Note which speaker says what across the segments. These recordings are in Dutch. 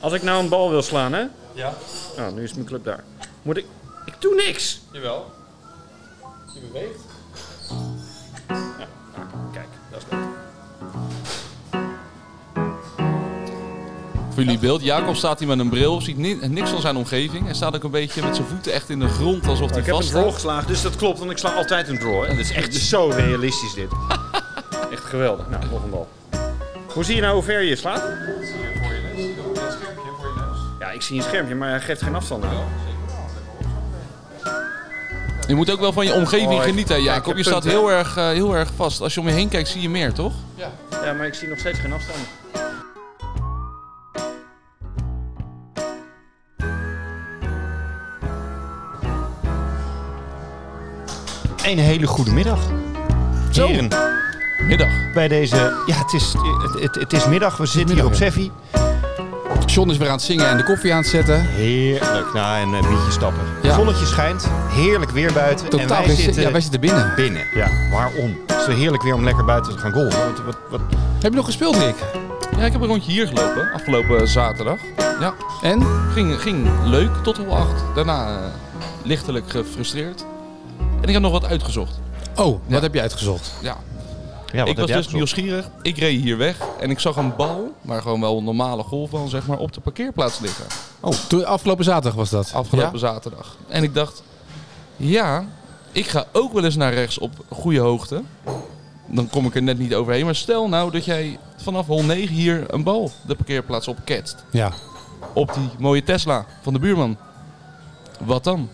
Speaker 1: Als ik nou een bal wil slaan, hè?
Speaker 2: Ja.
Speaker 1: Nou, nu is mijn club daar. Moet ik... Ik doe niks!
Speaker 2: Jawel. Je beweegt.
Speaker 1: Kijk, dat is leuk.
Speaker 3: Voor jullie beeld. Jacob staat hier met een bril. Ziet ni- niks van zijn omgeving. En staat ook een beetje met zijn voeten echt in de grond. Alsof hij
Speaker 1: Ik heb een
Speaker 3: vast
Speaker 1: draw
Speaker 3: staat.
Speaker 1: geslagen, dus dat klopt, want ik sla altijd een draw. En dat is echt zo realistisch dit. Echt geweldig. Nou, nog een bal. Hoe zie je nou hoe ver je slaat?
Speaker 2: Dat zie je voor je neus. Zie je ook dat schermpje voor je neus?
Speaker 1: Ja, ik zie een schermpje, maar hij geeft geen afstand aan.
Speaker 2: Wel, zeker wel. Lekker opzij.
Speaker 3: Je moet ook wel van je omgeving
Speaker 1: Oh,
Speaker 3: genieten,
Speaker 1: kijk,
Speaker 3: Jacob. Je
Speaker 1: punt,
Speaker 3: staat
Speaker 1: hè?
Speaker 3: heel erg, eh, heel erg vast. Als je om je heen kijkt, zie je meer, toch?
Speaker 2: Ja.
Speaker 1: Ja, maar ik zie nog steeds geen afstand.
Speaker 4: Een hele goede middag.
Speaker 3: Zo.
Speaker 4: Heren,
Speaker 3: Middag.
Speaker 4: bij deze... Ja, het is, het, het, het is middag. We zitten hier op Seffi.
Speaker 5: John is weer aan het zingen en de koffie aan het zetten.
Speaker 4: Heerlijk. Nou, en een biertje stappen.
Speaker 5: Ja.
Speaker 4: Zonnetje schijnt. Heerlijk weer buiten. en
Speaker 5: Totaal
Speaker 4: wij
Speaker 5: geen zin.
Speaker 4: zitten
Speaker 5: Ja, wij zitten binnen.
Speaker 4: binnen. Ja. Waarom? Het is heerlijk weer om lekker buiten te gaan golven. Wat, wat, wat...
Speaker 5: Heb je nog gespeeld, Nick?
Speaker 3: Ja, ik heb een rondje hier gelopen. Afgelopen zaterdag.
Speaker 5: Ja. En?
Speaker 3: Ging, ging leuk tot hol 8. Daarna eh, lichtelijk gefrustreerd. En ik heb nog wat uitgezocht.
Speaker 5: Oh, wat heb je uitgezocht?
Speaker 3: Ja,
Speaker 4: Ja, wat
Speaker 3: ik was dus
Speaker 4: jij gezocht?
Speaker 3: nieuwsgierig. Ik reed hier weg en ik zag een bal, maar gewoon wel een normale golfbal, zeg maar, op de parkeerplaats liggen.
Speaker 5: Oh, toen, afgelopen zaterdag was dat.
Speaker 3: Afgelopen
Speaker 5: Ja?
Speaker 3: zaterdag. En ik dacht, ja, ik ga ook wel eens naar rechts op goede hoogte. Dan kom ik er net niet overheen. Maar stel nou dat jij vanaf hol 9 hier een bal de parkeerplaats op ketst.
Speaker 5: Ja.
Speaker 3: Op die mooie Tesla van de buurman. Wat dan?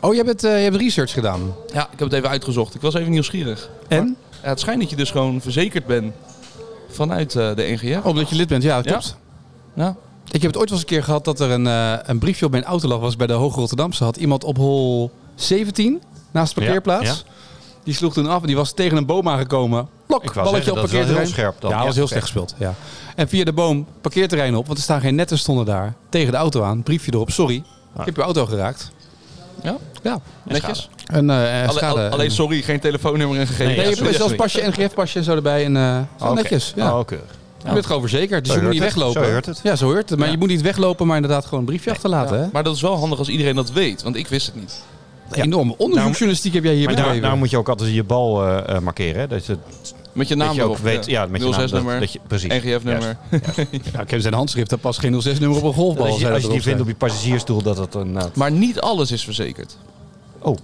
Speaker 5: Oh, jij bent, eh, je hebt research gedaan.
Speaker 3: Ja, ik heb het even uitgezocht. Ik was even nieuwsgierig.
Speaker 5: En?
Speaker 3: Ja, het schijnt dat je dus gewoon verzekerd bent vanuit eh, de NGF.
Speaker 4: Oh.
Speaker 5: Oh, Omdat je lid bent, ja,
Speaker 3: Ja.
Speaker 5: klopt.
Speaker 3: Ja.
Speaker 5: Ik heb het ooit wel eens een keer gehad dat er een, eh, een briefje op mijn auto lag. was bij de Hoge Rotterdamse. Had iemand op hol 17 naast de parkeerplaats.
Speaker 4: Ja,
Speaker 5: Die sloeg toen af en die was tegen een boom aangekomen. Plok,
Speaker 4: Ik wou
Speaker 5: balletje
Speaker 4: zeggen,
Speaker 5: op
Speaker 4: dat is wel
Speaker 5: parkeerterrein.
Speaker 4: heel scherp dan.
Speaker 5: Ja, dat
Speaker 4: Ja,
Speaker 5: was heel
Speaker 4: oké.
Speaker 5: slecht gespeeld. Ja. En via de boom parkeerterrein op, want er staan geen netten stonden daar. Tegen de auto aan, briefje erop. Sorry, ik heb je auto geraakt.
Speaker 3: Ja?
Speaker 5: Ja,
Speaker 3: Netjes.
Speaker 5: en eh, eh,
Speaker 3: Alle-
Speaker 5: schade.
Speaker 3: alle- alleen sorry, geen telefoonnummer en gegevens.
Speaker 5: Nee, je hebt
Speaker 3: Sorry.
Speaker 5: zelfs pasje, NGF-pasje en zo erbij. En, eh, zo
Speaker 4: Oké.
Speaker 5: netjes. Ja.
Speaker 4: Oh, keurig.
Speaker 5: Je bent gewoon verzekerd, dus
Speaker 4: Zo
Speaker 5: je moet niet
Speaker 4: heurt het.
Speaker 5: weglopen.
Speaker 4: Zo heurt het.
Speaker 5: Ja, zo heurt het. Maar je moet niet weglopen, maar inderdaad gewoon een briefje achterlaten. hè?
Speaker 3: Maar dat is wel handig als iedereen dat weet, want ik wist het niet.
Speaker 5: Enorm Enorme onderzoeksjournalistiek heb jij hier
Speaker 4: Nou, Maar nou- daar,
Speaker 5: bedreven.
Speaker 4: daar moet je ook altijd je bal eh, eh, markeren. hè. Dat je,
Speaker 3: Met je naam
Speaker 4: dat je ook
Speaker 3: erop.
Speaker 4: weet, ja, met je naam,
Speaker 3: 06
Speaker 4: dat-
Speaker 3: nummer,
Speaker 4: dat je- precies.
Speaker 3: NGF-nummer.
Speaker 5: Nou, ik heb zijn handschrift, daar past geen 06-nummer op een golfbal.
Speaker 4: als je,
Speaker 5: zei
Speaker 4: als je
Speaker 5: dat
Speaker 4: die vindt
Speaker 5: erop
Speaker 4: op je passagiersstoel, dat eh, dat inderdaad...
Speaker 3: Maar niet alles is verzekerd.
Speaker 5: staat.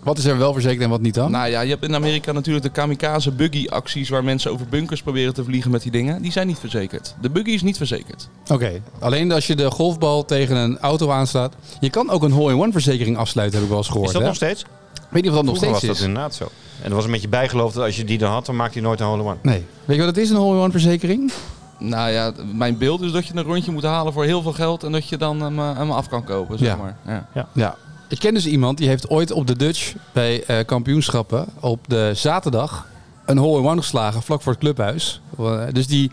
Speaker 5: Wat is er wel verzekerd en wat niet dan?
Speaker 3: Nou ja, je hebt in Amerika natuurlijk de kamikaze buggy acties waar mensen over bunkers proberen te vliegen met die dingen. Die zijn niet verzekerd. De buggy is niet verzekerd.
Speaker 5: Oké, alleen als je de golfbal tegen een auto aanslaat. Je kan ook een hole-in-one verzekering afsluiten, heb ik wel eens gehoord.
Speaker 4: Is dat
Speaker 5: hè?
Speaker 4: nog steeds?
Speaker 5: Ik weet niet of dat nog
Speaker 4: Vroeger
Speaker 5: steeds
Speaker 4: was
Speaker 5: is.
Speaker 4: dat inderdaad zo. En er was een beetje bijgeloof dat als je die dan had, dan maakte hij nooit een hole in one.
Speaker 5: Nee. Weet je wat het is, een hole-in-one verzekering?
Speaker 3: Nou ja, mijn beeld is dat je een rondje moet halen voor heel veel geld en dat je dan hem, eh, hem af kan kopen, zeg
Speaker 5: Ja.
Speaker 3: maar. Ja.
Speaker 5: Ja. Ik ken dus iemand die heeft ooit op de Dutch bij eh, kampioenschappen op de zaterdag een hole-in-one geslagen vlak voor het clubhuis. Eh, Dus die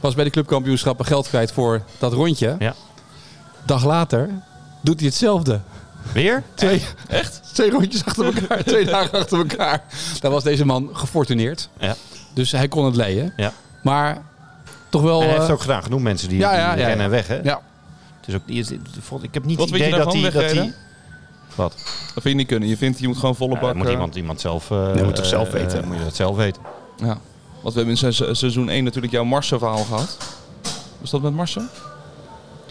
Speaker 5: was bij de clubkampioenschappen geld kwijt voor dat rondje.
Speaker 4: Ja.
Speaker 5: Dag later doet hij hetzelfde.
Speaker 4: Weer?
Speaker 5: Twee, echt? Twee rondjes achter elkaar, twee dagen achter elkaar. Daar was deze man gefortuneerd.
Speaker 4: Ja.
Speaker 5: Dus hij kon het leien.
Speaker 4: Ja.
Speaker 5: Maar toch wel.
Speaker 4: En hij
Speaker 5: eh,
Speaker 4: heeft ook gedaan. Genoeg mensen die,
Speaker 5: Ja,
Speaker 4: die
Speaker 5: ja, ja,
Speaker 4: rennen
Speaker 5: ja.
Speaker 4: weg, hè?
Speaker 5: ja.
Speaker 4: Het is ook, die is- ik heb niet
Speaker 3: Wat
Speaker 4: het
Speaker 3: vind je
Speaker 4: idee dat
Speaker 3: daarvan
Speaker 4: hij... Dat die,
Speaker 3: wegrijden?
Speaker 4: wat?
Speaker 3: Dat vind je niet kunnen. Je vindt, je moet gewoon volle
Speaker 4: Ja,
Speaker 3: bak...
Speaker 4: dat moet
Speaker 3: eh,
Speaker 4: iemand, iemand zelf... eh, eh, moet eh, eh, moet je dat zelf weten.
Speaker 3: Ja. Want we hebben in se- se- seizoen 1 natuurlijk jouw Marsen verhaal gehad. Was dat met Marsen?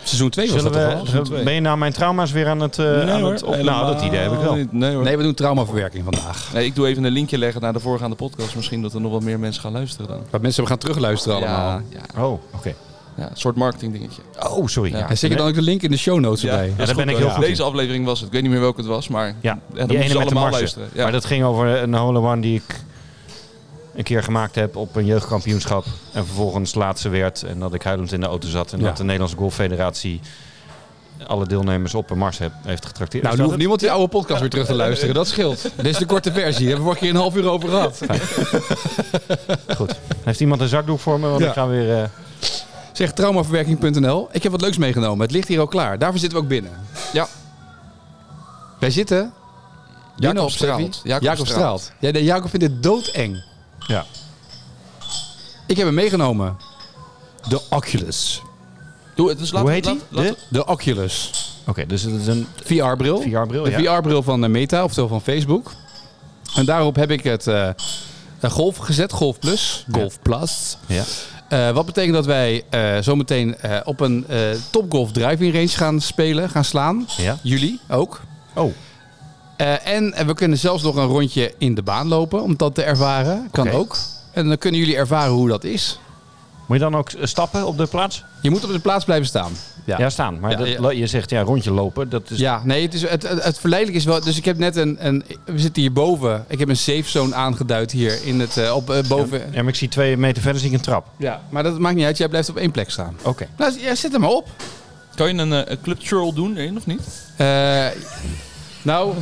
Speaker 5: Seizoen 2 was dat
Speaker 4: Zullen
Speaker 5: toch wel?
Speaker 4: we,
Speaker 3: Seizoen twee.
Speaker 4: ben je nou mijn trauma's weer aan het... eh, aan het op, nou, dat idee heb ik wel.
Speaker 3: niet. Nee, hoor.
Speaker 5: Nee, we doen traumaverwerking vandaag.
Speaker 3: Nee, ik doe even een linkje leggen naar de voorgaande podcast. Misschien dat er nog wat meer mensen gaan luisteren dan.
Speaker 5: Dat mensen we gaan terugluisteren allemaal.
Speaker 3: Ja, ja,
Speaker 4: Oh, oké.
Speaker 3: ja, een soort marketing dingetje.
Speaker 4: Oh, sorry.
Speaker 3: Ja.
Speaker 4: Ja,
Speaker 5: En zeker dan ook de link in de show notes erbij.
Speaker 4: daar ben ik heel goed
Speaker 3: Deze aflevering was het. Ik weet niet meer welke het was, maar ja,
Speaker 4: Ja,
Speaker 3: dan
Speaker 4: die
Speaker 3: moeten ze
Speaker 4: ene met de
Speaker 3: allemaal
Speaker 4: marge.
Speaker 3: luisteren. Ja.
Speaker 4: Maar dat ging over eh, een hole in one die ik een keer gemaakt heb op een jeugdkampioenschap. En vervolgens laatste werd en dat ik huilend in de auto zat. En
Speaker 5: Ja.
Speaker 4: dat de Nederlandse Golffederatie alle deelnemers op een mars heb, heeft getrakteerd.
Speaker 5: Nou,
Speaker 4: Is
Speaker 5: nu
Speaker 4: dat
Speaker 5: hoeft niemand die oude podcast weer terug te luisteren. Dat scheelt. Dit is de korte versie. Daar hebben we vorige keer een half uur over gehad.
Speaker 4: het? Goed. Heeft iemand een zakdoek voor me? Want
Speaker 5: Ja.
Speaker 4: ik ga weer... eh,
Speaker 5: Zeg traumaverwerking.nl. Ik heb wat leuks meegenomen. Het ligt hier al klaar. Daarvoor zitten we ook binnen.
Speaker 3: Ja.
Speaker 5: Wij zitten binnen op
Speaker 3: Straalt.
Speaker 5: Steffi. Jacob,
Speaker 3: Jacob
Speaker 5: Straalt. Ja, nee, Jacob vindt dit doodeng.
Speaker 4: Ja.
Speaker 5: Ik heb hem meegenomen. De Oculus.
Speaker 3: Doe het, dus laten
Speaker 4: Hoe
Speaker 3: we-
Speaker 4: heet die?
Speaker 3: laten- laten we-
Speaker 4: De?
Speaker 5: De Oculus
Speaker 4: Oké, dus het is een
Speaker 5: VR-bril.
Speaker 4: VR-bril,
Speaker 5: De
Speaker 4: oh ja.
Speaker 5: VR-bril van eh, Meta, oftewel van Facebook. En daarop heb ik het eh, eh, Golf gezet, Golf Plus. Golf Plus.
Speaker 4: Ja.
Speaker 5: Eh, wat betekent dat wij eh, zometeen eh, op een eh Topgolf driving range gaan spelen, gaan slaan.
Speaker 4: Ja.
Speaker 5: Jullie ook.
Speaker 4: Oh,
Speaker 5: Eh, en eh, we kunnen zelfs nog een rondje in de baan lopen om dat te ervaren. Kan
Speaker 4: Oké.
Speaker 5: ook. En dan kunnen jullie ervaren hoe dat is.
Speaker 4: moet je dan ook eh, stappen op de plaats?
Speaker 5: Je moet op de plaats blijven staan.
Speaker 4: Ja, staan. Maar
Speaker 5: Ja,
Speaker 4: dat-
Speaker 5: ja.
Speaker 4: lo- je zegt, ja, rondje lopen, dat is...
Speaker 5: Ja, nee, het, is, het, het, het verleidelijk is wel. Dus ik heb net een, een. We zitten hier boven. Ik heb een safe zone aangeduid hier in het. eh, op, eh, boven.
Speaker 4: Ja, maar ik zie twee meter verder zie ik een trap.
Speaker 5: Ja, maar dat maakt niet uit. Jij blijft op één plek staan.
Speaker 4: Oké.
Speaker 5: Nou, ja, zet hem op.
Speaker 3: Kan je een, eh, een club churl doen erin of niet?
Speaker 5: Eh, nou,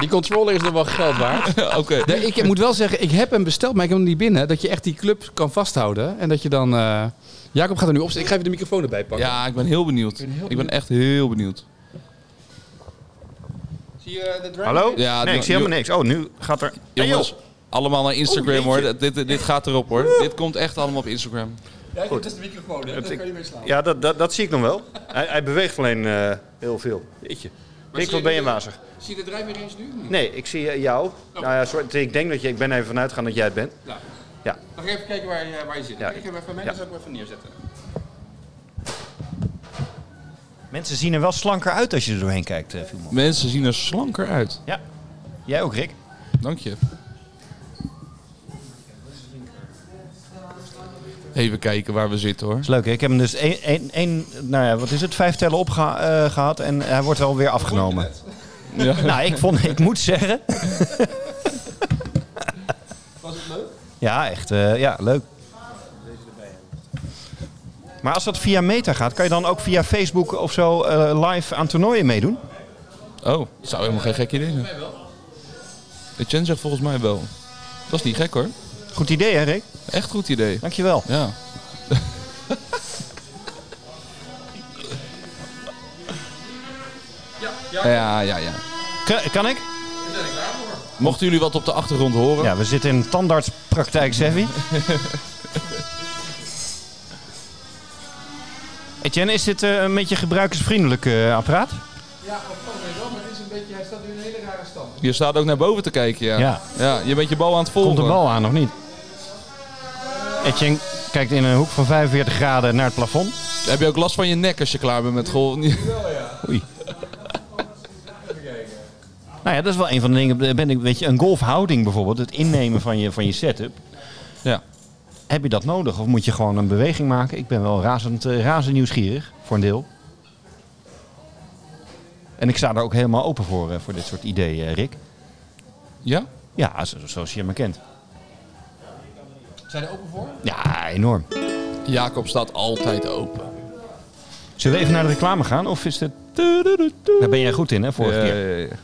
Speaker 5: die controller is nog wel geld waard.
Speaker 3: Oké.
Speaker 4: Ah,
Speaker 5: Nee, ik moet wel zeggen, ik heb hem besteld, maar ik heb hem niet binnen. Dat je echt die club kan vasthouden. En dat je dan... eh, Jacob gaat er nu op zitten. Ik ga even de microfoon erbij pakken.
Speaker 3: Ja, ik ben heel benieuwd. Ik ben echt heel benieuwd.
Speaker 5: Zie je eh, de drive?
Speaker 4: Hallo?
Speaker 3: Ja,
Speaker 5: nou,
Speaker 4: nee, ik zie
Speaker 3: joh.
Speaker 4: helemaal niks. Oh, nu gaat er... Hey,
Speaker 3: Jongens,
Speaker 4: joh.
Speaker 3: allemaal naar Instagram
Speaker 4: Oh,
Speaker 3: hoor.
Speaker 4: jeetje.
Speaker 3: Dit, dit gaat erop hoor. Dit komt echt allemaal op Instagram.
Speaker 5: Ja, dat is de microfoon. Hè?
Speaker 4: Het-
Speaker 5: Daar
Speaker 4: ik-
Speaker 5: kan je mee slaan.
Speaker 1: Ja, dat, dat, dat zie ik nog wel. Hij, hij beweegt alleen eh, heel veel. Jeetje. Ik, wat ben je wazig?
Speaker 5: Zie je de drive eens nu?
Speaker 1: Nee, ik zie eh, jou. Nou ja, soort- ik denk dat je... Ik ben even vanuit gaan dat jij het bent.
Speaker 5: Ja.
Speaker 1: Ja.
Speaker 5: Mag ik even kijken waar je, eh, waar je zit?
Speaker 1: Ja, Ik heb
Speaker 5: even,
Speaker 1: mensen
Speaker 5: ook even neerzetten.
Speaker 4: Mensen zien er wel slanker uit als je er doorheen kijkt, eh, Fielman.
Speaker 3: Mensen zien er slanker uit.
Speaker 4: Ja. Jij ook, Rick?
Speaker 3: Dank je. Even kijken waar we zitten hoor.
Speaker 4: is leuk. hè? Ik heb hem dus één, één, één, nou ja, wat is het, vijf tellen opgehaald gehad en hij wordt wel weer afgenomen. nou, ik, vond, ik moet zeggen. Was het leuk? Ja, echt. eh, ja, leuk. Maar als dat via Meta gaat, kan je dan ook via Facebook of zo eh, live aan toernooien meedoen?
Speaker 3: Oh, zou helemaal geen gek idee zijn. Etienne zegt volgens mij wel. Dat is niet gek hoor.
Speaker 4: Goed idee, hè Rick?
Speaker 3: Echt goed idee.
Speaker 4: Dankjewel.
Speaker 3: Ja. Ja, ja, ja.
Speaker 4: Kan, kan ik?
Speaker 3: Mochten jullie wat op de achtergrond horen,
Speaker 4: Ja, we zitten in tandartspraktijk, Sevi. Etienne, is dit eh, een beetje gebruikersvriendelijk eh, apparaat?
Speaker 5: Ja, dat kan wel, maar het is een beetje, hij staat nu in een hele rare stand.
Speaker 3: je staat ook naar boven te kijken. Ja.
Speaker 4: Ja.
Speaker 3: je bent je bal aan het volgen.
Speaker 4: Komt de bal aan, of niet? Etienne kijkt in een hoek van 45 graden naar het plafond.
Speaker 3: Heb je ook last van je nek als je klaar bent met golf?
Speaker 4: Nou ja, dat is wel een van de dingen. Ben ik, weet je, een golfhouding bijvoorbeeld, het innemen van je, van je setup.
Speaker 3: Ja.
Speaker 4: Heb je dat nodig of moet je gewoon een beweging maken? Ik ben wel razend, eh, razend nieuwsgierig, voor een deel. En ik sta er ook helemaal open voor, eh, voor dit soort ideeën, eh, Rick.
Speaker 3: Ja?
Speaker 4: Ja, zo- zoals je me kent.
Speaker 5: Zijn er open voor?
Speaker 4: Ja, enorm.
Speaker 3: Jacob staat altijd open.
Speaker 4: Zullen we even naar de reclame gaan? Of is het... Daar ben jij goed in, hè, vorige keer.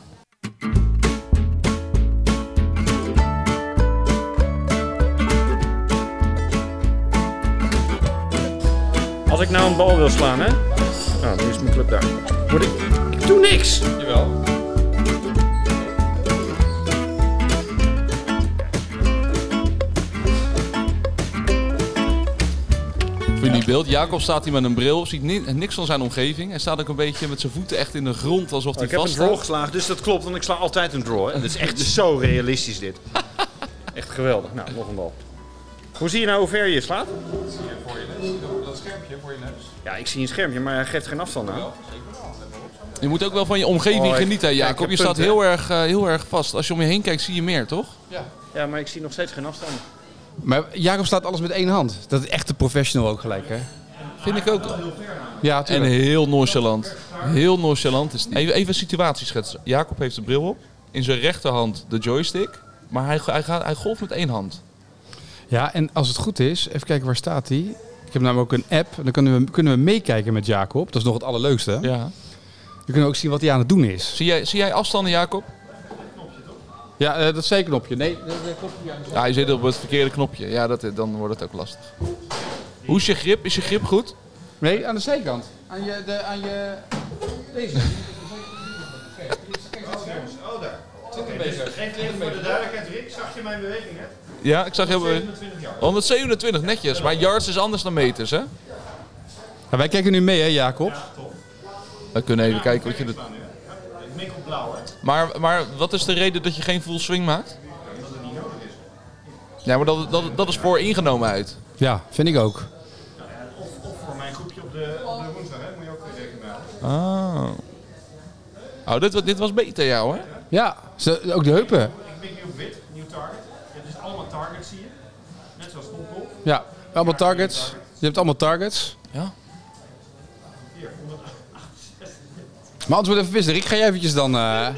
Speaker 1: Als ik nou een bal wil slaan, hè? Nou, nu is mijn club daar. Moet ik... Ik doe niks!
Speaker 2: Jawel.
Speaker 3: Voor jullie beeld, Jacob staat hier met een bril, ziet ni- niks van zijn omgeving. Hij staat ook een beetje met zijn voeten echt in de grond, alsof hij
Speaker 1: ik heb een
Speaker 3: vast
Speaker 1: draw geslagen, dus dat klopt, want ik sla altijd een draw. Hè? Dat is echt zo realistisch dit. Echt geweldig. Nou, nog een bal. Hoe zie je nou hoe ver je slaat?
Speaker 2: Dat zie je voor je neus. Zie je dat- dat schermpje voor je neus.
Speaker 1: Ja, ik zie een schermpje, maar hij geeft geen afstand aan.
Speaker 2: Wel, zeker wel. Let maar op. zo.
Speaker 3: Je moet ook wel van je omgeving
Speaker 1: Oh, ik-
Speaker 3: genieten, hè,
Speaker 1: ja, ik
Speaker 3: Jacob.
Speaker 1: heb
Speaker 3: Je staat
Speaker 1: punten,
Speaker 3: heel erg, eh, heel erg vast. Als je om je heen kijkt, zie je meer, toch?
Speaker 1: Ja, maar ik zie nog steeds geen afstand.
Speaker 5: Maar Jacob staat alles met één hand. Dat is echt de professional ook gelijk, hè?
Speaker 3: Vind ik ook.
Speaker 5: Ja,
Speaker 3: En heel nonchalant. Heel nonchalant is die. Even, even een situatie schetsen. Jacob heeft de bril op. In zijn rechterhand de joystick. Maar hij, hij, gaat, hij golft met één hand.
Speaker 5: Ja, en als het goed is, even kijken waar staat hij. Ik heb namelijk ook een app. Dan kunnen we, kunnen we meekijken met Jacob. Dat is nog het allerleukste. Dan
Speaker 3: Ja.
Speaker 5: kunnen we ook zien wat hij aan het doen is.
Speaker 3: Zie, jij, zie jij afstanden, Jacob?
Speaker 5: Ja, eh, dat zijknopje. Nee, dat dat knopje aan de
Speaker 3: Ja, hij zit op het verkeerde knopje. Ja, dat, dan wordt het ook lastig. Hoe is je grip? Is je grip goed?
Speaker 5: Nee, aan de zijkant. Aan je... De, aan je... Deze.
Speaker 1: Oh, daar. Geen voor de duidelijkheid, Rick. Zag je mijn beweging, hè?
Speaker 3: Ja, ik zag heel... 127, netjes. Maar yards is anders dan meters, hè?
Speaker 5: Nou, wij kijken nu mee, hè, Jacob?
Speaker 3: We kunnen even kijken wat je... doet. Maar, maar wat is de reden dat je geen full swing maakt? Ja, maar dat, dat, dat is voor ingenomen uit.
Speaker 5: Ja, vind ik ook.
Speaker 2: Voor mijn groepje op de, op de woensdag, hè, moet je ook weer rekenen.
Speaker 3: Ah. Oh, dit, wa- dit was beter jou, hè?
Speaker 5: Ja, ze, ook de heupen.
Speaker 2: Ik ben nieuw wit, nieuw target. Het is allemaal target, zie je. Net zoals Topkop.
Speaker 5: Ja, allemaal targets. Je hebt allemaal targets.
Speaker 3: Ja.
Speaker 5: Maar antwoord even vissen. Rick, ga jij eventjes dan... eh,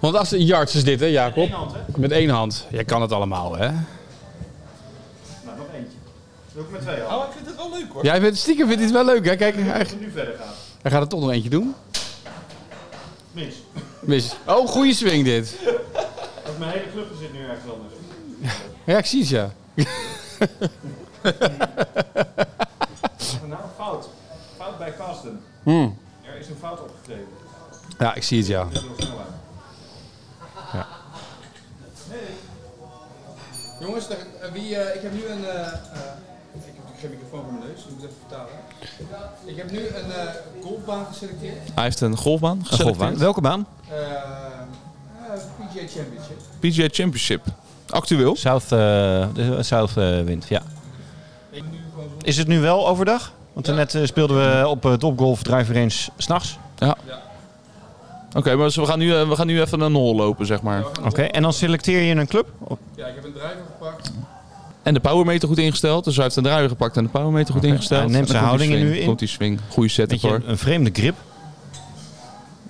Speaker 5: want als de yards is dit, hè, Jacob? Met één hand, Jij kan het allemaal, hè?
Speaker 2: Nou, nog eentje. Doe ik met twee al.
Speaker 3: Oh, ik vind het wel leuk, hoor.
Speaker 5: Jij vindt, stiekem vindt dit wel leuk, hè? Kijk, hij,
Speaker 2: Nu verder gaan.
Speaker 5: hij gaat er toch nog eentje doen.
Speaker 2: Mis.
Speaker 5: Mis. Oh, goede swing dit.
Speaker 2: Want mijn hele club zit nu ergens anders.
Speaker 5: Ja, ik zie het, ja.
Speaker 2: Nou, fout. Fout bij Casten. Er is een fout opgegeven.
Speaker 5: Ja, ik zie het, ja.
Speaker 2: Dat is nog snel uit.
Speaker 6: Jongens, daar- eh, wie, eh, ik heb nu een. eh, eh, ik heb natuurlijk geen microfoon voor mijn neus, dus ik moet even vertalen. Ik heb nu een eh, golfbaan geselecteerd.
Speaker 3: Hij heeft een golfbaan geselecteerd.
Speaker 4: Welke baan?
Speaker 6: Eh, eh, PGA Championship.
Speaker 3: PGA Championship. Actueel.
Speaker 4: South, eh, de South eh, Wind, ja. Is het nu wel overdag? Want net eh, speelden we op het Topgolf Driver Range s'nachts.
Speaker 3: Oké, maar we gaan, nu, eh, we gaan nu even een hol lopen, zeg maar.
Speaker 4: Oké, en dan selecteer je een club?
Speaker 6: Ja, ik heb een driver gepakt.
Speaker 3: En de powermeter goed ingesteld. Dus hij heeft een draaier gepakt en de powermeter goed ingesteld.
Speaker 4: hij neemt
Speaker 3: En dan
Speaker 4: zijn
Speaker 3: komt die
Speaker 4: houdingen
Speaker 3: swing,
Speaker 4: nu in.
Speaker 3: Komt die swing. Goede setup
Speaker 4: Beetje
Speaker 3: hoor.
Speaker 4: een vreemde grip.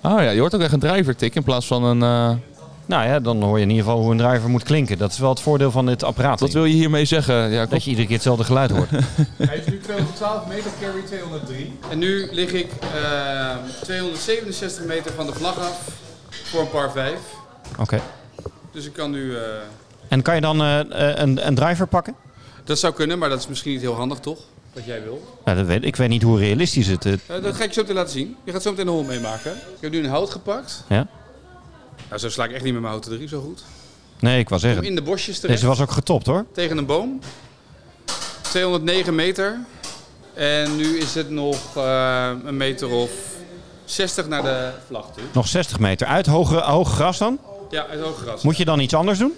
Speaker 3: Oh ja, je hoort ook echt een drijvertik in plaats van een... eh,
Speaker 4: Nou ja, dan hoor je in ieder geval hoe een driver moet klinken. Dat is wel het voordeel van dit apparaat.
Speaker 3: Wat wil je hiermee zeggen, Jacob?
Speaker 4: Dat je iedere keer hetzelfde geluid hoort.
Speaker 6: Hij is nu 212 meter, carry 203. En nu lig ik eh, 267 meter van de vlag af voor een par 5.
Speaker 4: Oké.
Speaker 6: Dus ik kan nu. eh,
Speaker 4: En kan je dan eh, eh, een, een driver pakken?
Speaker 6: dat zou kunnen, maar dat is misschien niet heel handig, toch? Wat jij wil.
Speaker 4: Nou, dat weet, ik weet niet hoe realistisch het is.
Speaker 6: Eh, dat ga ik je zo meteen laten zien. Je gaat zo meteen een hol meemaken. Ik heb nu een hout gepakt.
Speaker 4: Ja?
Speaker 6: Nou, zo sla ik echt niet met mijn houten drie zo goed.
Speaker 4: Nee, ik wou
Speaker 6: Kom
Speaker 4: zeggen.
Speaker 6: in de bosjes terecht,
Speaker 4: Deze was ook getopt hoor.
Speaker 6: tegen een boom. 209 meter. En nu is het nog eh, een meter of 60 naar de vlag toe.
Speaker 4: Nog 60 meter. Uit hoge, hoog gras dan?
Speaker 6: Ja, uit hoog gras.
Speaker 4: Moet je dan iets anders doen?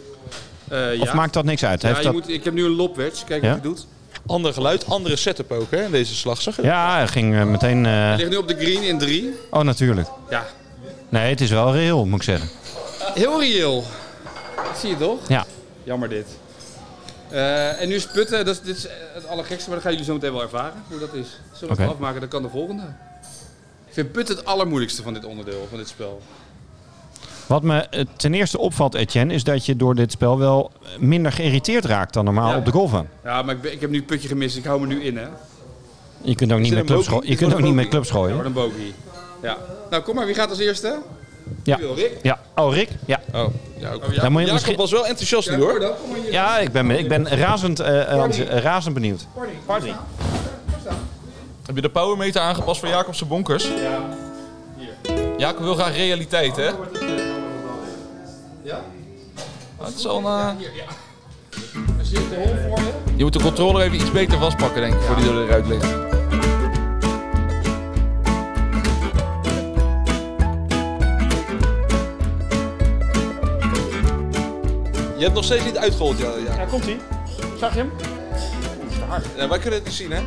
Speaker 6: Eh, ja.
Speaker 4: Of maakt dat niks uit?
Speaker 6: Ja,
Speaker 4: Heeft
Speaker 6: je
Speaker 4: dat...
Speaker 6: moet, ik heb nu een lopwedge. Kijk
Speaker 4: Ja?
Speaker 6: wat hij doet.
Speaker 3: Ander geluid, andere setup ook hè, in deze slag. Zag je dat?
Speaker 4: ja hij ging eh, meteen... eh,
Speaker 6: Hij ligt nu op de green in 3.
Speaker 4: Oh, natuurlijk.
Speaker 6: Ja,
Speaker 4: Nee, het is wel reëel, moet ik zeggen.
Speaker 6: heel reëel. Dat zie je toch?
Speaker 4: Ja.
Speaker 6: Jammer dit. Eh, en nu is putten, dat is, dit is eh, het allergekste, maar dat gaan jullie zo meteen wel ervaren hoe dat is. Zullen we het
Speaker 4: Oké.
Speaker 6: afmaken, dan kan de volgende. Ik vind putten het allermoeilijkste van dit onderdeel, van dit spel.
Speaker 4: Wat me eh, ten eerste opvalt, Etienne, is dat je door dit spel wel minder geïrriteerd raakt dan normaal
Speaker 6: Ja.
Speaker 4: op de golfbaan.
Speaker 6: Ja, maar ik, ben- ik heb nu het putje gemist, ik hou me nu in hè.
Speaker 4: Je kunt ook niet
Speaker 6: Is
Speaker 4: met
Speaker 6: dit een
Speaker 4: clubs,
Speaker 6: bogey?
Speaker 4: goo- je
Speaker 6: Is dit
Speaker 4: kunt ook
Speaker 6: een
Speaker 4: niet
Speaker 6: bogey?
Speaker 4: met clubs
Speaker 6: Ja,
Speaker 4: gooien.
Speaker 6: Wordt een bogey. Ja. Nou, kom maar, wie gaat als eerste?
Speaker 4: Ja.
Speaker 6: Wie wil, Rick?
Speaker 4: Ja. Oh, Rick? Ja.
Speaker 3: Oh, ja, ook.
Speaker 6: Oh, ja.
Speaker 4: Dan moet je
Speaker 3: Jacob
Speaker 4: misschien...
Speaker 3: was wel enthousiast
Speaker 6: Ja,
Speaker 3: nu hoor.
Speaker 6: Cor dan, kom maar hier.
Speaker 4: Ja, ik ben, ik ben razend, eh, eh, Hans, eh, razend benieuwd. Party.
Speaker 3: Heb je de powermeter aangepast voor Jacobse bonkers? Ja. Jacob wil graag realiteit hè?
Speaker 6: eh, Ja?
Speaker 3: Dat is al een, eh,
Speaker 6: Hier, ja. Er zit de hol voor je.
Speaker 3: Je moet de controller even iets beter vastpakken denk ik, voor die eruit ligt. Je hebt nog steeds niet uitgehold, ja.
Speaker 1: Ja, komt ie. Zag je hem?
Speaker 3: Ja, wij kunnen het niet zien, hè?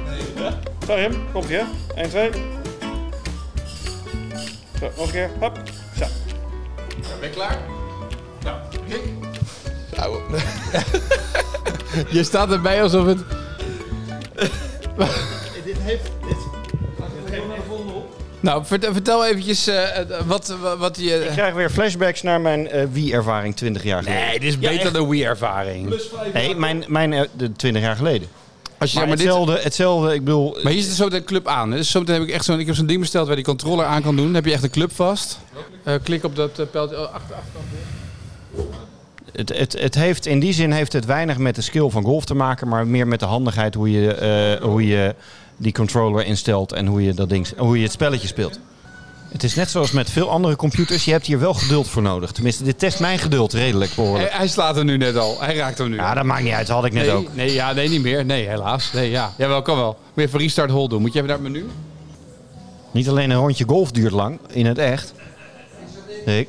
Speaker 1: Zag je hem? Komt ie, hè? 1, 2. Zo, nog een keer. Hop. Zo.
Speaker 6: Ben je klaar?
Speaker 5: Je staat erbij alsof het...
Speaker 2: Dit heeft... Dit, dit geeft me de volgende op.
Speaker 5: Nou, vertel, vertel eventjes eh, eh, wat, wat, wat
Speaker 4: Ik
Speaker 5: je...
Speaker 4: krijg weer flashbacks naar mijn eh Wii-ervaring 20 jaar geleden.
Speaker 5: dit is beter dan Wii-ervaring.
Speaker 4: Nee, mijn, mijn eh, de 20 jaar geleden.
Speaker 5: Als je,
Speaker 4: Maar,
Speaker 5: maar, dit,
Speaker 4: hetzelfde, hetzelfde, ik bedoel...
Speaker 5: maar hier zit zo de club aan. hè. Dus zometeen heb ik echt zo'n... Ik heb zo'n ding besteld waar die controller aan kan doen. Dan heb je echt een club vast. Eh, klik op dat eh, pijltje. Oh, achter, achter.
Speaker 4: Het, het, het heeft, in die zin heeft het weinig met de skill van golf te maken, maar meer met de handigheid hoe je, eh, hoe je die controller instelt en hoe je, dat ding, hoe je het spelletje speelt. Het is net zoals met veel andere computers. Je hebt hier wel geduld voor nodig. Tenminste, dit test mijn geduld redelijk
Speaker 6: Hij,
Speaker 5: Eh,
Speaker 4: behoorlijk.
Speaker 6: hij slaat hem nu net al. Hij raakt hem nu.
Speaker 4: Ja, dat maakt niet uit. Dat had ik net
Speaker 6: nee,
Speaker 4: ook.
Speaker 6: nee, ja, nee, niet meer. Nee, helaas. Nee, ja. Jawel, kan wel. Moet je even restart hold doen. Moet je even naar het menu?
Speaker 4: Niet alleen een rondje golf duurt lang, in het echt. Rick.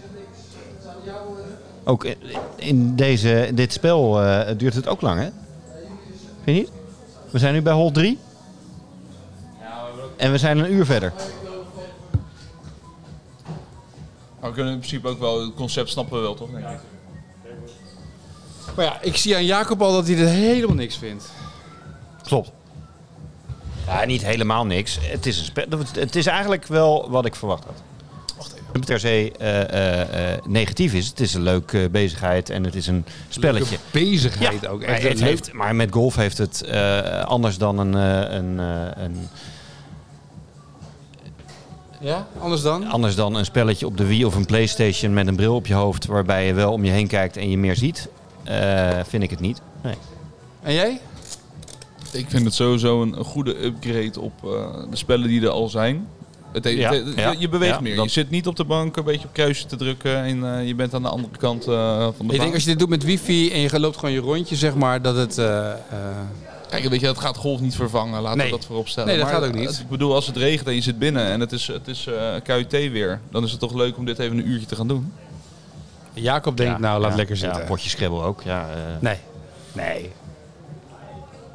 Speaker 4: Ook in- in deze, dit spel eh, duurt het ook lang, hè? Vind je niet? We zijn nu bij hol 3. En we zijn een uur verder.
Speaker 3: Maar we kunnen in principe ook wel het concept snappen we wel, toch? Denk ik.
Speaker 6: Maar ja, ik zie aan Jacob al dat hij er helemaal niks vindt.
Speaker 4: Klopt. Ja, niet helemaal niks. Het is, een spe- het is eigenlijk wel wat ik verwacht had. Wacht even. Per se eh, eh, eh, negatief is. Het is een leuke eh, bezigheid en het is een spelletje.
Speaker 6: Leuke bezigheid
Speaker 4: Ja,
Speaker 6: ook.
Speaker 4: maar,
Speaker 6: Echt
Speaker 4: het
Speaker 6: leuk.
Speaker 4: heeft, maar met golf heeft het eh, anders dan een, eh, een, eh, een,
Speaker 6: Ja, anders dan?
Speaker 4: anders dan een spelletje op de Wii of een Playstation met een bril op je hoofd waarbij je wel om je heen kijkt en je meer ziet. Eh, vind ik het niet. Nee.
Speaker 6: En jij?
Speaker 3: Ik vind het sowieso een, een goede upgrade op eh, de spellen die er al zijn. Het, heeft-
Speaker 4: Ja,
Speaker 3: het-
Speaker 4: ja,
Speaker 3: je, je beweegt
Speaker 4: ja,
Speaker 3: meer.
Speaker 4: dat-
Speaker 3: Je zit niet op de bank een beetje op kruisje te drukken en eh, je bent aan de andere kant eh, van de
Speaker 5: Ik
Speaker 3: baan.
Speaker 5: denk als je dit doet met wifi en je loopt gewoon je rondje, zeg maar, dat het... eh, eh,
Speaker 3: Kijk, weet je, dat gaat golf niet vervangen. Laten
Speaker 5: Nee.
Speaker 3: we dat voorop stellen.
Speaker 5: Nee, dat
Speaker 3: Maar,
Speaker 5: gaat ook niet.
Speaker 3: eh, Ik bedoel, als het regent en je zit binnen en het is, het is eh, KUT weer, dan is het toch leuk om dit even een uurtje te gaan doen.
Speaker 5: Jacob denkt, nou, laat
Speaker 4: Ja,
Speaker 5: lekker
Speaker 4: ja,
Speaker 5: zitten.
Speaker 4: potje Scrabble ook. Ja, eh,
Speaker 5: nee. Nee.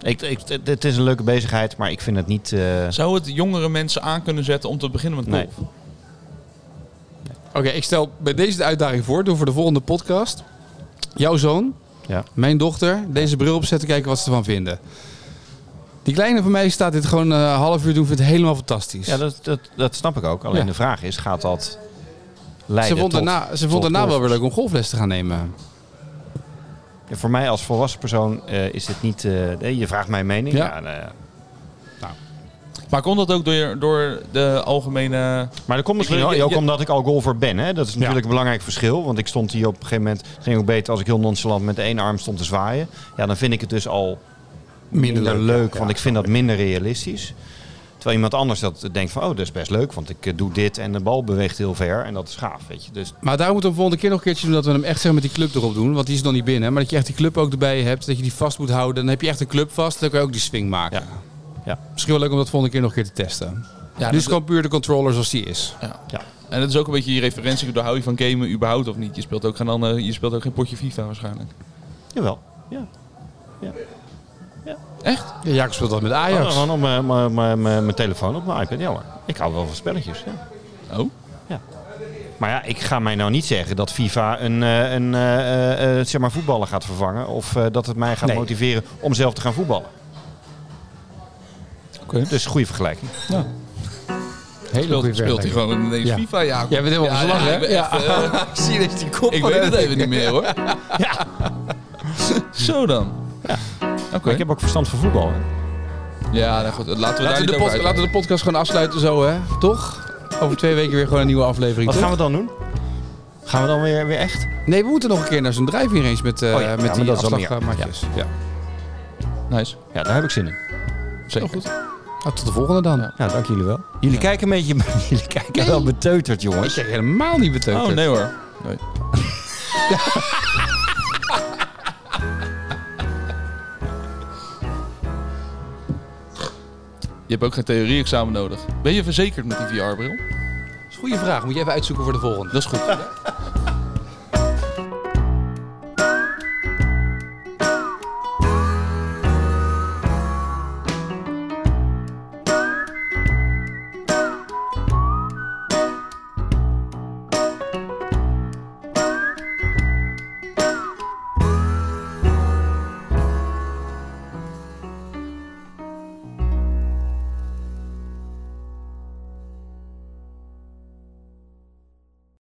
Speaker 4: ik, ik, het- het is een leuke bezigheid, maar ik vind het niet. eh,
Speaker 3: Zou het jongere mensen aan kunnen zetten om te beginnen met golf?
Speaker 5: Oké, ik stel bij deze de uitdaging voor. Doen voor de volgende podcast. Jouw zoon,
Speaker 4: Ja.
Speaker 5: mijn dochter, deze bril opzetten, kijken wat ze ervan vinden. Die kleine van mij staat dit gewoon eh, een half uur doen, vindt het helemaal fantastisch.
Speaker 4: Ja, dat, dat, dat snap ik ook. Alleen
Speaker 5: Ja.
Speaker 4: de vraag is, gaat dat leiden
Speaker 5: ze vond
Speaker 4: tot...
Speaker 5: daarna, ze
Speaker 4: tot
Speaker 5: vond daarna wel
Speaker 4: golf?
Speaker 5: weer leuk om golfles te gaan nemen.
Speaker 4: Ja, Voor mij als volwassen persoon eh, is dit niet... eh, nee, je vraagt mijn mening.
Speaker 5: Ja.
Speaker 4: Ja. nou ja.
Speaker 3: Maar komt dat ook door, door de algemene...
Speaker 4: maar dat komt misschien
Speaker 3: Ik-
Speaker 4: wel-
Speaker 3: je-
Speaker 4: ook
Speaker 3: je-
Speaker 4: omdat ik al golfer ben. Hè? Dat is natuurlijk een belangrijk verschil. Want ik stond hier op een gegeven moment... Het ging ook beter als ik heel nonchalant met één arm stond te zwaaien. Ja, dan vind ik het dus al minder, leuk. want ik vind dat minder realistisch. Terwijl iemand anders dat denkt van... Oh, dat is best leuk. Want ik eh, doe dit en de bal beweegt heel ver. En dat is gaaf, weet je. Dus
Speaker 5: Maar daar moeten we volgende keer nog een keertje doen dat we hem echt zeg, met die club erop doen. Want die is nog niet binnen. Maar dat je echt die club ook erbij hebt. Dat je die vast moet houden. Dan heb je echt een club vast. Dan kan je ook die swing maken.
Speaker 4: Ja. Ja.
Speaker 5: Misschien wel leuk om dat volgende keer nog een keer te testen.
Speaker 3: Ja,
Speaker 5: nu is gewoon puur de controller zoals die is.
Speaker 3: En dat is ook een beetje je referentie. door Hou je van gamen überhaupt of niet? Je speelt ook geen, ander, je speelt ook geen potje FIFA waarschijnlijk.
Speaker 4: jawel. Ja.
Speaker 5: Ja, Jacob speelt dat met Ajax.
Speaker 4: Oh, gewoon op mijn- mijn- mijn- mijn mijn telefoon, op mijn iPad. Ja hoor. Ik hou wel van spelletjes. Ja.
Speaker 3: Oh?
Speaker 4: Maar ja, ik ga mij nou niet zeggen dat FIFA een, eh, een eh, eh, eh, zeg maar voetballer gaat vervangen. Of eh, dat het mij gaat motiveren om zelf te gaan voetballen.
Speaker 3: Oké.
Speaker 4: Dus goede vergelijking.
Speaker 5: Hele goede
Speaker 3: Speelt, speelt hij
Speaker 5: vergelijking.
Speaker 3: gewoon ineens
Speaker 5: Ja.
Speaker 3: FIFA, Jacob?
Speaker 5: Jij bent helemaal
Speaker 3: Ja,
Speaker 5: verslag,
Speaker 3: ja,
Speaker 5: hè?
Speaker 3: ik ben echt, eh,
Speaker 5: Ik zie dat die kop
Speaker 3: Ik
Speaker 5: van
Speaker 3: weet het
Speaker 5: hem-
Speaker 3: even niet meer, hoor. Zo dan. Oké.
Speaker 4: Maar ik heb ook verstand van voetbal. hè.
Speaker 3: Ja, nou goed. Laten we daar
Speaker 5: Laten we,
Speaker 3: niet
Speaker 5: de
Speaker 3: over
Speaker 5: pod-
Speaker 3: uit-
Speaker 5: laten we de podcast gewoon afsluiten zo, hè? Toch? Over twee weken weer gewoon een nieuwe aflevering.
Speaker 4: Wat
Speaker 5: toch?
Speaker 4: gaan we dan doen? Gaan we dan weer, weer echt?
Speaker 5: Nee, we moeten nog een keer naar zo'n drive-in race met, eh
Speaker 4: Oh ja, ja,
Speaker 5: met
Speaker 4: maar
Speaker 5: die
Speaker 4: dat is wel
Speaker 5: afslagmatjes. Ja.
Speaker 3: Nice.
Speaker 4: Ja, daar heb ik zin in.
Speaker 3: Zeker.
Speaker 5: goed. Nou, tot de volgende dan.
Speaker 4: Nou, dank jullie wel. Jullie kijken een beetje... Jullie kijken
Speaker 5: Nee.
Speaker 4: wel beteuterd, jongens.
Speaker 5: Ik helemaal niet beteuterd.
Speaker 3: Oh, nee hoor. Je hebt ook geen theorie-examen nodig. Ben je verzekerd met die VR-bril?
Speaker 5: Dat is een goede vraag. Moet je even uitzoeken voor de volgende.
Speaker 3: Dat is goed.